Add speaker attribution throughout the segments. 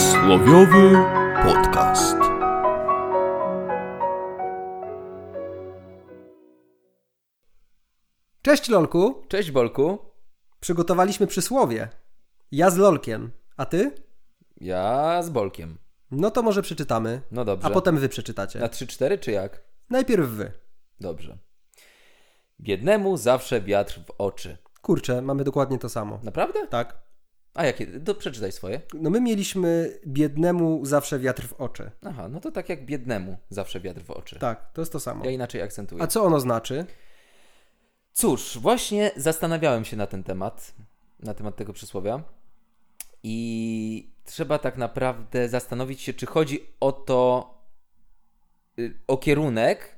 Speaker 1: Przysłowiowy podcast.
Speaker 2: Cześć Lolku,
Speaker 3: Cześć Bolku.
Speaker 2: przygotowaliśmy przysłowie. Ja z Lolkiem, a ty?
Speaker 3: Ja z Bolkiem.
Speaker 2: No to może przeczytamy,
Speaker 3: No dobrze. Tak.
Speaker 2: a potem wy
Speaker 3: Na
Speaker 2: przeczytacie.
Speaker 3: 3-4 czy jak?
Speaker 2: Najpierw wy.
Speaker 3: Dobrze. Biednemu zawsze wiatr w oczy.
Speaker 2: Kurczę, mamy dokładnie to samo.
Speaker 3: Naprawdę?
Speaker 2: Tak.
Speaker 3: A jakie? To przeczytaj swoje.
Speaker 2: No my mieliśmy biednemu zawsze wiatr w oczy.
Speaker 3: Aha, no to tak jak biednemu zawsze wiatr w oczy.
Speaker 2: Tak, to jest to samo.
Speaker 3: Ja inaczej akcentuję.
Speaker 2: A co ono znaczy?
Speaker 3: Cóż, właśnie zastanawiałem się na ten temat, na temat tego przysłowia. I trzeba tak naprawdę zastanowić się, czy chodzi o to, y, o kierunek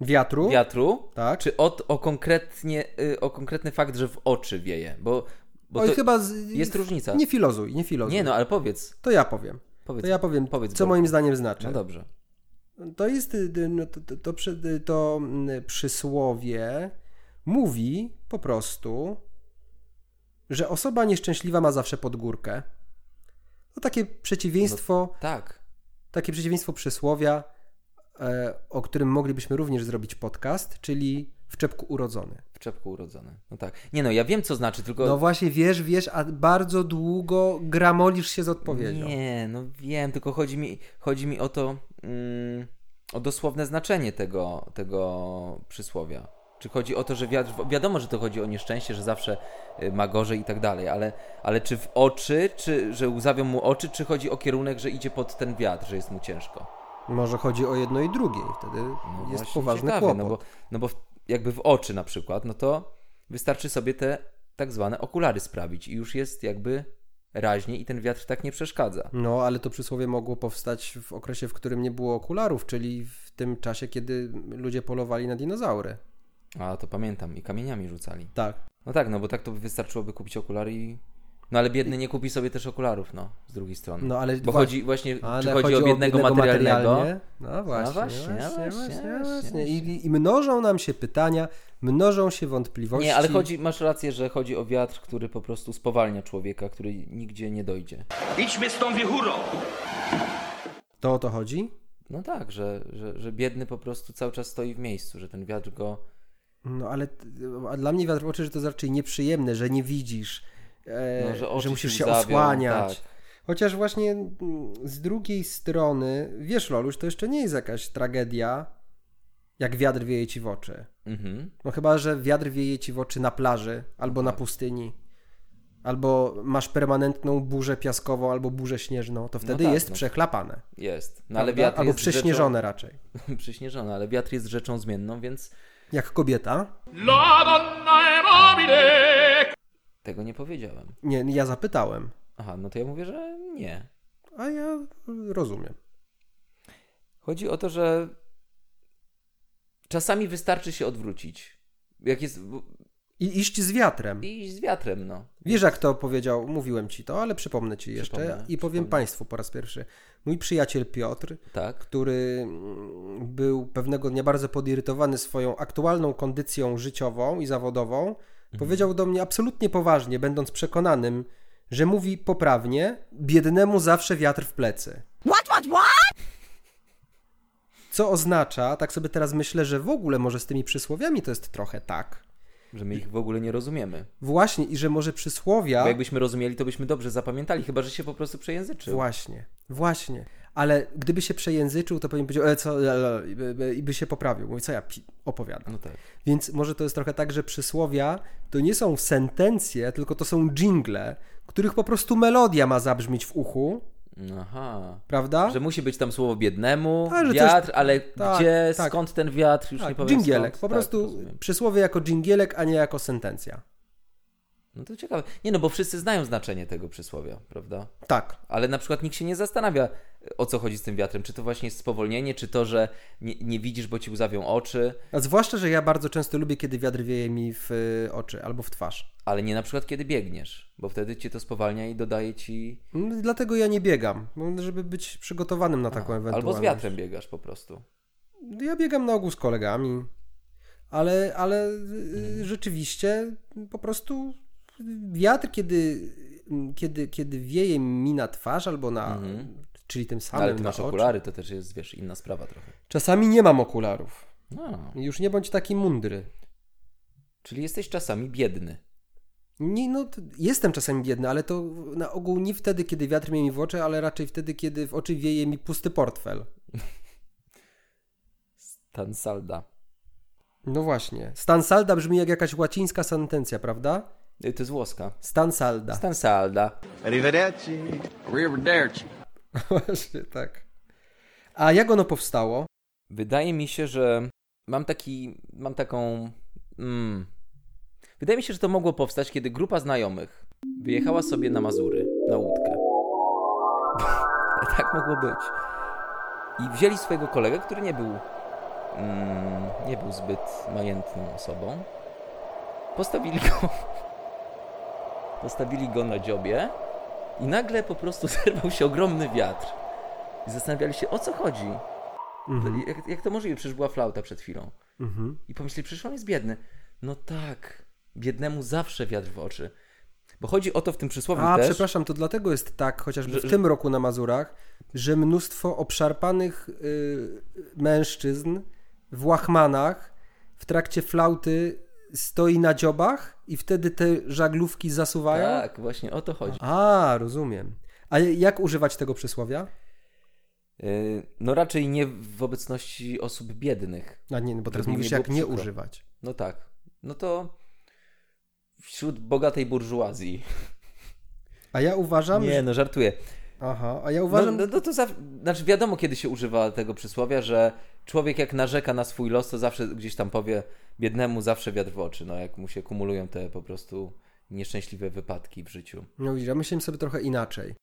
Speaker 2: Wiatru?
Speaker 3: wiatru,
Speaker 2: Tak.
Speaker 3: Czy o, o, konkretnie, y, o konkretny fakt, że w oczy wieje? Bo, bo
Speaker 2: Oj,
Speaker 3: to
Speaker 2: chyba z...
Speaker 3: jest różnica.
Speaker 2: Nie filozuj, nie filozuj.
Speaker 3: Nie no, ale powiedz.
Speaker 2: To ja powiem.
Speaker 3: powiedz
Speaker 2: To ja powiem,
Speaker 3: Powiedz,
Speaker 2: co
Speaker 3: Bolku.
Speaker 2: moim zdaniem znaczy.
Speaker 3: No dobrze.
Speaker 2: To jest y, y, no, to, to, to, przy- y, to mm, przysłowie mówi po prostu, że osoba nieszczęśliwa ma zawsze pod górkę. To takie przeciwieństwo,
Speaker 3: Tak.
Speaker 2: takie przeciwieństwo przysłowia, e, o którym moglibyśmy również zrobić podcast, czyli w czepku urodzony.
Speaker 3: W czepku urodzony. No tak. Nie no, ja wiem co znaczy, tylko...
Speaker 2: No właśnie, wiesz, wiesz, a bardzo długo gramolisz się z odpowiedzią.
Speaker 3: Nie, no wiem, tylko chodzi mi, chodzi mi o to, mm, o dosłowne znaczenie tego, tego przysłowia. Czy chodzi o to, że wiatr, w- wiadomo, że to chodzi o nieszczęście, że zawsze y, ma gorzej i tak dalej, ale, ale czy w oczy, czy że łzawią mu oczy, czy chodzi o kierunek, że idzie pod ten wiatr, że jest mu ciężko?
Speaker 2: Może chodzi o jedno i drugie i wtedy
Speaker 3: No
Speaker 2: jest
Speaker 3: właśnie
Speaker 2: poważny
Speaker 3: ciekawie,
Speaker 2: kłopot.
Speaker 3: No bo, no bo w- jakby w oczy na przykład, no to wystarczy sobie te tak zwane okulary sprawić i już jest jakby raźniej i ten wiatr tak nie przeszkadza.
Speaker 2: No, ale to przysłowie mogło powstać w okresie, w którym nie było okularów, czyli w tym czasie, kiedy ludzie polowali na dinozaury.
Speaker 3: A to pamiętam, i kamieniami rzucali.
Speaker 2: Tak.
Speaker 3: No tak, no bo tak to by wystarczyłoby kupić okulary i... No ale biedny nie kupi sobie też okularów, no, z drugiej strony.
Speaker 2: No, ale
Speaker 3: bo
Speaker 2: wa-
Speaker 3: chodzi właśnie, czy chodzi, o biednego, materialnego?
Speaker 2: materialnie? No właśnie,
Speaker 3: właśnie,
Speaker 2: właśnie,
Speaker 3: właśnie,
Speaker 2: właśnie,
Speaker 3: właśnie,
Speaker 2: właśnie. I, I mnożą nam się pytania, mnożą się wątpliwości.
Speaker 3: Nie, ale chodzi, masz rację, że chodzi o wiatr, który po prostu spowalnia człowieka, który nigdzie nie dojdzie.
Speaker 1: Idźmy z tą wiechurą.
Speaker 2: To o to chodzi?
Speaker 3: No tak, że, że, że biedny po prostu cały czas stoi w miejscu, że ten wiatr go...
Speaker 2: No, ale t- a dla mnie wiatr w oczy, że to jest raczej nieprzyjemne, że nie widzisz, e,
Speaker 3: No, że oczy
Speaker 2: musisz
Speaker 3: ci
Speaker 2: się
Speaker 3: łzawią,
Speaker 2: osłaniać.
Speaker 3: tak.
Speaker 2: Chociaż właśnie mm, z drugiej strony, wiesz Loluś, to jeszcze nie jest jakaś tragedia, jak wiatr wieje ci w oczy.
Speaker 3: Mhm.
Speaker 2: No chyba, że wiatr wieje ci w oczy na plaży, albo
Speaker 3: Tak.
Speaker 2: na pustyni, albo masz permanentną burzę piaskową, albo burzę śnieżną, to wtedy
Speaker 3: tak,
Speaker 2: jest
Speaker 3: no.
Speaker 2: przechlapane.
Speaker 3: Jest. No ale
Speaker 2: prawda?
Speaker 3: wiatr
Speaker 2: albo
Speaker 3: jest
Speaker 2: prześnieżone raczej.
Speaker 3: Rzeczą... prześnieżone, ale wiatr jest rzeczą zmienną, więc
Speaker 2: Jak kobieta?
Speaker 1: La donna è mobile.
Speaker 3: tego nie powiedziałem.
Speaker 2: Nie, ja zapytałem,
Speaker 3: Aha, no to ja mówię, że nie.
Speaker 2: a ja rozumiem.
Speaker 3: Chodzi o to, że czasami wystarczy się odwrócić. Jak jest...
Speaker 2: I iść z wiatrem.
Speaker 3: I z wiatrem, no.
Speaker 2: Wiesz, jak to powiedział, mówiłem ci to, ale przypomnę ci jeszcze
Speaker 3: Przypomnę,
Speaker 2: i powiem
Speaker 3: przypomnę.
Speaker 2: Państwu po raz pierwszy. Mój przyjaciel Piotr,
Speaker 3: Tak.
Speaker 2: który mm, był pewnego dnia bardzo podirytowany swoją aktualną kondycją życiową i zawodową,
Speaker 3: Mhm.
Speaker 2: powiedział do mnie absolutnie poważnie, będąc przekonanym, że mówi poprawnie, biednemu zawsze wiatr w plecy.
Speaker 4: What, what, what?
Speaker 2: Co oznacza, tak sobie teraz myślę, że w ogóle może z tymi przysłowiami to jest trochę tak.
Speaker 3: Że my ich w ogóle nie rozumiemy.
Speaker 2: Właśnie, i że może przysłowia.
Speaker 3: Bo jakbyśmy rozumieli, to byśmy dobrze zapamiętali, chyba że się po prostu przejęzyczył.
Speaker 2: Właśnie, właśnie. Ale gdyby się przejęzyczył, to pewnie powiedział, e, co, e, e, i by- by- i by się poprawił. Mówi, co ja pi- opowiadam.
Speaker 3: No tak.
Speaker 2: Więc może to jest trochę tak, że przysłowia to nie są sentencje, tylko to są dżingle, których po prostu melodia ma zabrzmieć w uchu,
Speaker 3: Aha.
Speaker 2: prawda?
Speaker 3: Że musi być tam słowo biednemu,
Speaker 2: A, że coś-
Speaker 3: wiatr, ale
Speaker 2: tak,
Speaker 3: gdzie,
Speaker 2: tak.
Speaker 3: skąd ten wiatr, już nie
Speaker 2: tak,
Speaker 3: powiem
Speaker 2: dżingielek.
Speaker 3: skąd.
Speaker 2: Po
Speaker 3: Tak,
Speaker 2: prostu
Speaker 3: rozumiem.
Speaker 2: przysłowie jako dżingielek, a nie jako sentencja.
Speaker 3: No to ciekawe. Nie no, bo wszyscy znają znaczenie tego przysłowia, prawda?
Speaker 2: Tak.
Speaker 3: Ale na przykład nikt się nie zastanawia, o co chodzi z tym wiatrem. Czy to właśnie jest spowolnienie, czy to, że nie, nie widzisz, bo ci łzawią oczy,
Speaker 2: A zwłaszcza, że ja bardzo często lubię, kiedy wiatr wieje mi w y, oczy albo w twarz.
Speaker 3: ale nie na przykład kiedy biegniesz, bo wtedy cię to spowalnia i dodaje ci...
Speaker 2: No, Dlatego ja nie biegam, no, żeby być przygotowanym na taką ewentualność.
Speaker 3: Albo z wiatrem biegasz po prostu.
Speaker 2: Ja biegam na ogół z kolegami,
Speaker 3: Mhm.
Speaker 2: ale, ale y, rzeczywiście po prostu wiatr, kiedy kiedy, kiedy wieje mi na twarz albo na. czyli tym samym.
Speaker 3: Mhm. Ale ty masz
Speaker 2: no na oczy.
Speaker 3: okulary, to też jest, wiesz, inna sprawa trochę.
Speaker 2: Czasami nie mam okularów.
Speaker 3: No.
Speaker 2: Już nie bądź taki mądry.
Speaker 3: Czyli jesteś czasami biedny.
Speaker 2: Nie, no, t- jestem czasem biedny, ale to na ogół nie wtedy, kiedy wiatr mnie mi w oczy, ale raczej wtedy, kiedy w oczy wieje mi pusty portfel.
Speaker 3: Tan salda.
Speaker 2: No właśnie. Stan salda brzmi jak jakaś łacińska sentencja, prawda?
Speaker 3: Y, To jest włoska.
Speaker 2: Stan salda.
Speaker 3: Stan salda.
Speaker 4: Arrivederci. Arrivederci.
Speaker 2: Właśnie, tak. A jak ono powstało?
Speaker 3: Wydaje mi się, że mam taki, mam taką. Mm. Wydaje mi się, że to mogło powstać, kiedy grupa znajomych wyjechała sobie na Mazury na łódkę. tak mogło być. I wzięli swojego kolegę, który nie był, mm, nie był zbyt majętną osobą. Postawili go, postawili go na dziobie i nagle po prostu zerwał się ogromny wiatr. I zastanawiali się, o co chodzi. Jak, jak to możliwe? Przecież była flauta przed chwilą.
Speaker 2: Mhm.
Speaker 3: I pomyśleli, przecież on jest biedny. No tak, biednemu zawsze wiatr w oczy. Bo chodzi o to w tym przysłowie
Speaker 2: A,
Speaker 3: też.
Speaker 2: przepraszam, to dlatego jest tak, chociażby
Speaker 3: Że-
Speaker 2: w tym roku na Mazurach, że mnóstwo obszarpanych y, mężczyzn w łachmanach w trakcie flauty stoi na dziobach i wtedy te żaglówki zasuwają?
Speaker 3: Tak, właśnie o to chodzi.
Speaker 2: A, rozumiem. A jak używać tego przysłowia?
Speaker 3: Yy, no raczej nie w obecności osób biednych.
Speaker 2: A nie, bo teraz
Speaker 3: Żeby
Speaker 2: mówisz,
Speaker 3: nie było
Speaker 2: jak nie
Speaker 3: przykro.
Speaker 2: używać.
Speaker 3: No tak. No to wśród bogatej burżuazji.
Speaker 2: A ja uważam,
Speaker 3: Nie,
Speaker 2: że...
Speaker 3: no żartuję.
Speaker 2: Aha, a ja
Speaker 3: No,
Speaker 2: uważam...
Speaker 3: no, no to zawsze, znaczy wiadomo kiedy się używa tego przysłowia, że człowiek jak narzeka na swój los, to zawsze gdzieś tam powie biednemu zawsze wiatr w oczy, no jak mu się kumulują te po prostu nieszczęśliwe wypadki w życiu.
Speaker 2: No widzisz, ja myślałem sobie trochę inaczej.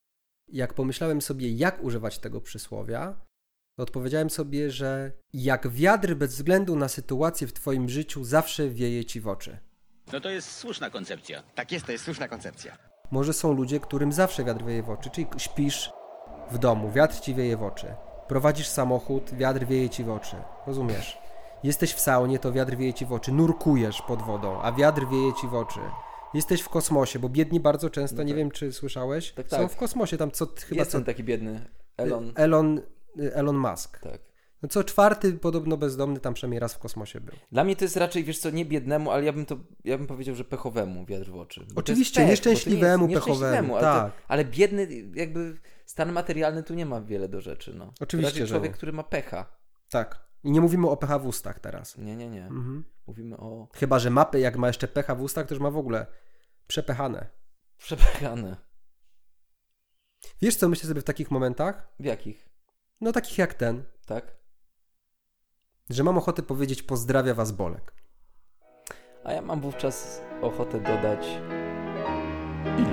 Speaker 2: Jak pomyślałem sobie, jak używać tego przysłowia, to odpowiedziałem sobie, że jak wiatr bez względu na sytuację w twoim życiu zawsze wieje ci w oczy.
Speaker 5: No to jest słuszna koncepcja.
Speaker 4: Tak jest, to jest słuszna koncepcja.
Speaker 2: Może są ludzie, którym zawsze wiatr wieje w oczy, czyli śpisz w domu, wiatr ci wieje w oczy. Prowadzisz samochód, wiatr wieje ci w oczy. Rozumiesz? Jesteś w saunie, to wiatr wieje ci w oczy. Nurkujesz pod wodą, a wiatr wieje ci w oczy. Jesteś w kosmosie, bo biedni bardzo często, nie wiem czy słyszałeś,
Speaker 3: No Tak,
Speaker 2: są
Speaker 3: tak.
Speaker 2: w kosmosie, tam co chyba E, co
Speaker 3: Jestem taki biedny Elon.
Speaker 2: Elon, y, Elon Musk.
Speaker 3: Tak.
Speaker 2: No co czwarty podobno bezdomny tam przynajmniej raz w kosmosie był.
Speaker 3: Dla mnie to jest raczej, wiesz co, nie biednemu, ale ja bym to, ja bym powiedział, że pechowemu wiatr w oczy. Bo to jest
Speaker 2: Oczywiście,
Speaker 3: pech, bo to nie jest-
Speaker 2: nieszczęśliwemu, pechowemu,
Speaker 3: ale, to,
Speaker 2: tak.
Speaker 3: ale biedny, jakby stan materialny tu nie ma wiele do rzeczy, no. To
Speaker 2: Oczywiście,
Speaker 3: raczej
Speaker 2: że
Speaker 3: człowiek,
Speaker 2: nie.
Speaker 3: który ma pecha.
Speaker 2: Tak. I nie mówimy o pecha w ustach teraz.
Speaker 3: Nie, nie, nie.
Speaker 2: Mhm.
Speaker 3: Mówimy o
Speaker 2: Chyba, że mapy, jak ma jeszcze pecha w ustach, to już ma w ogóle przepechane.
Speaker 3: przepechane.
Speaker 2: Wiesz, co myślę sobie w takich momentach?
Speaker 3: W jakich?
Speaker 2: No takich jak ten,
Speaker 3: Tak?
Speaker 2: że mam ochotę powiedzieć pozdrawia was Bolek.
Speaker 3: A ja mam wówczas ochotę dodać i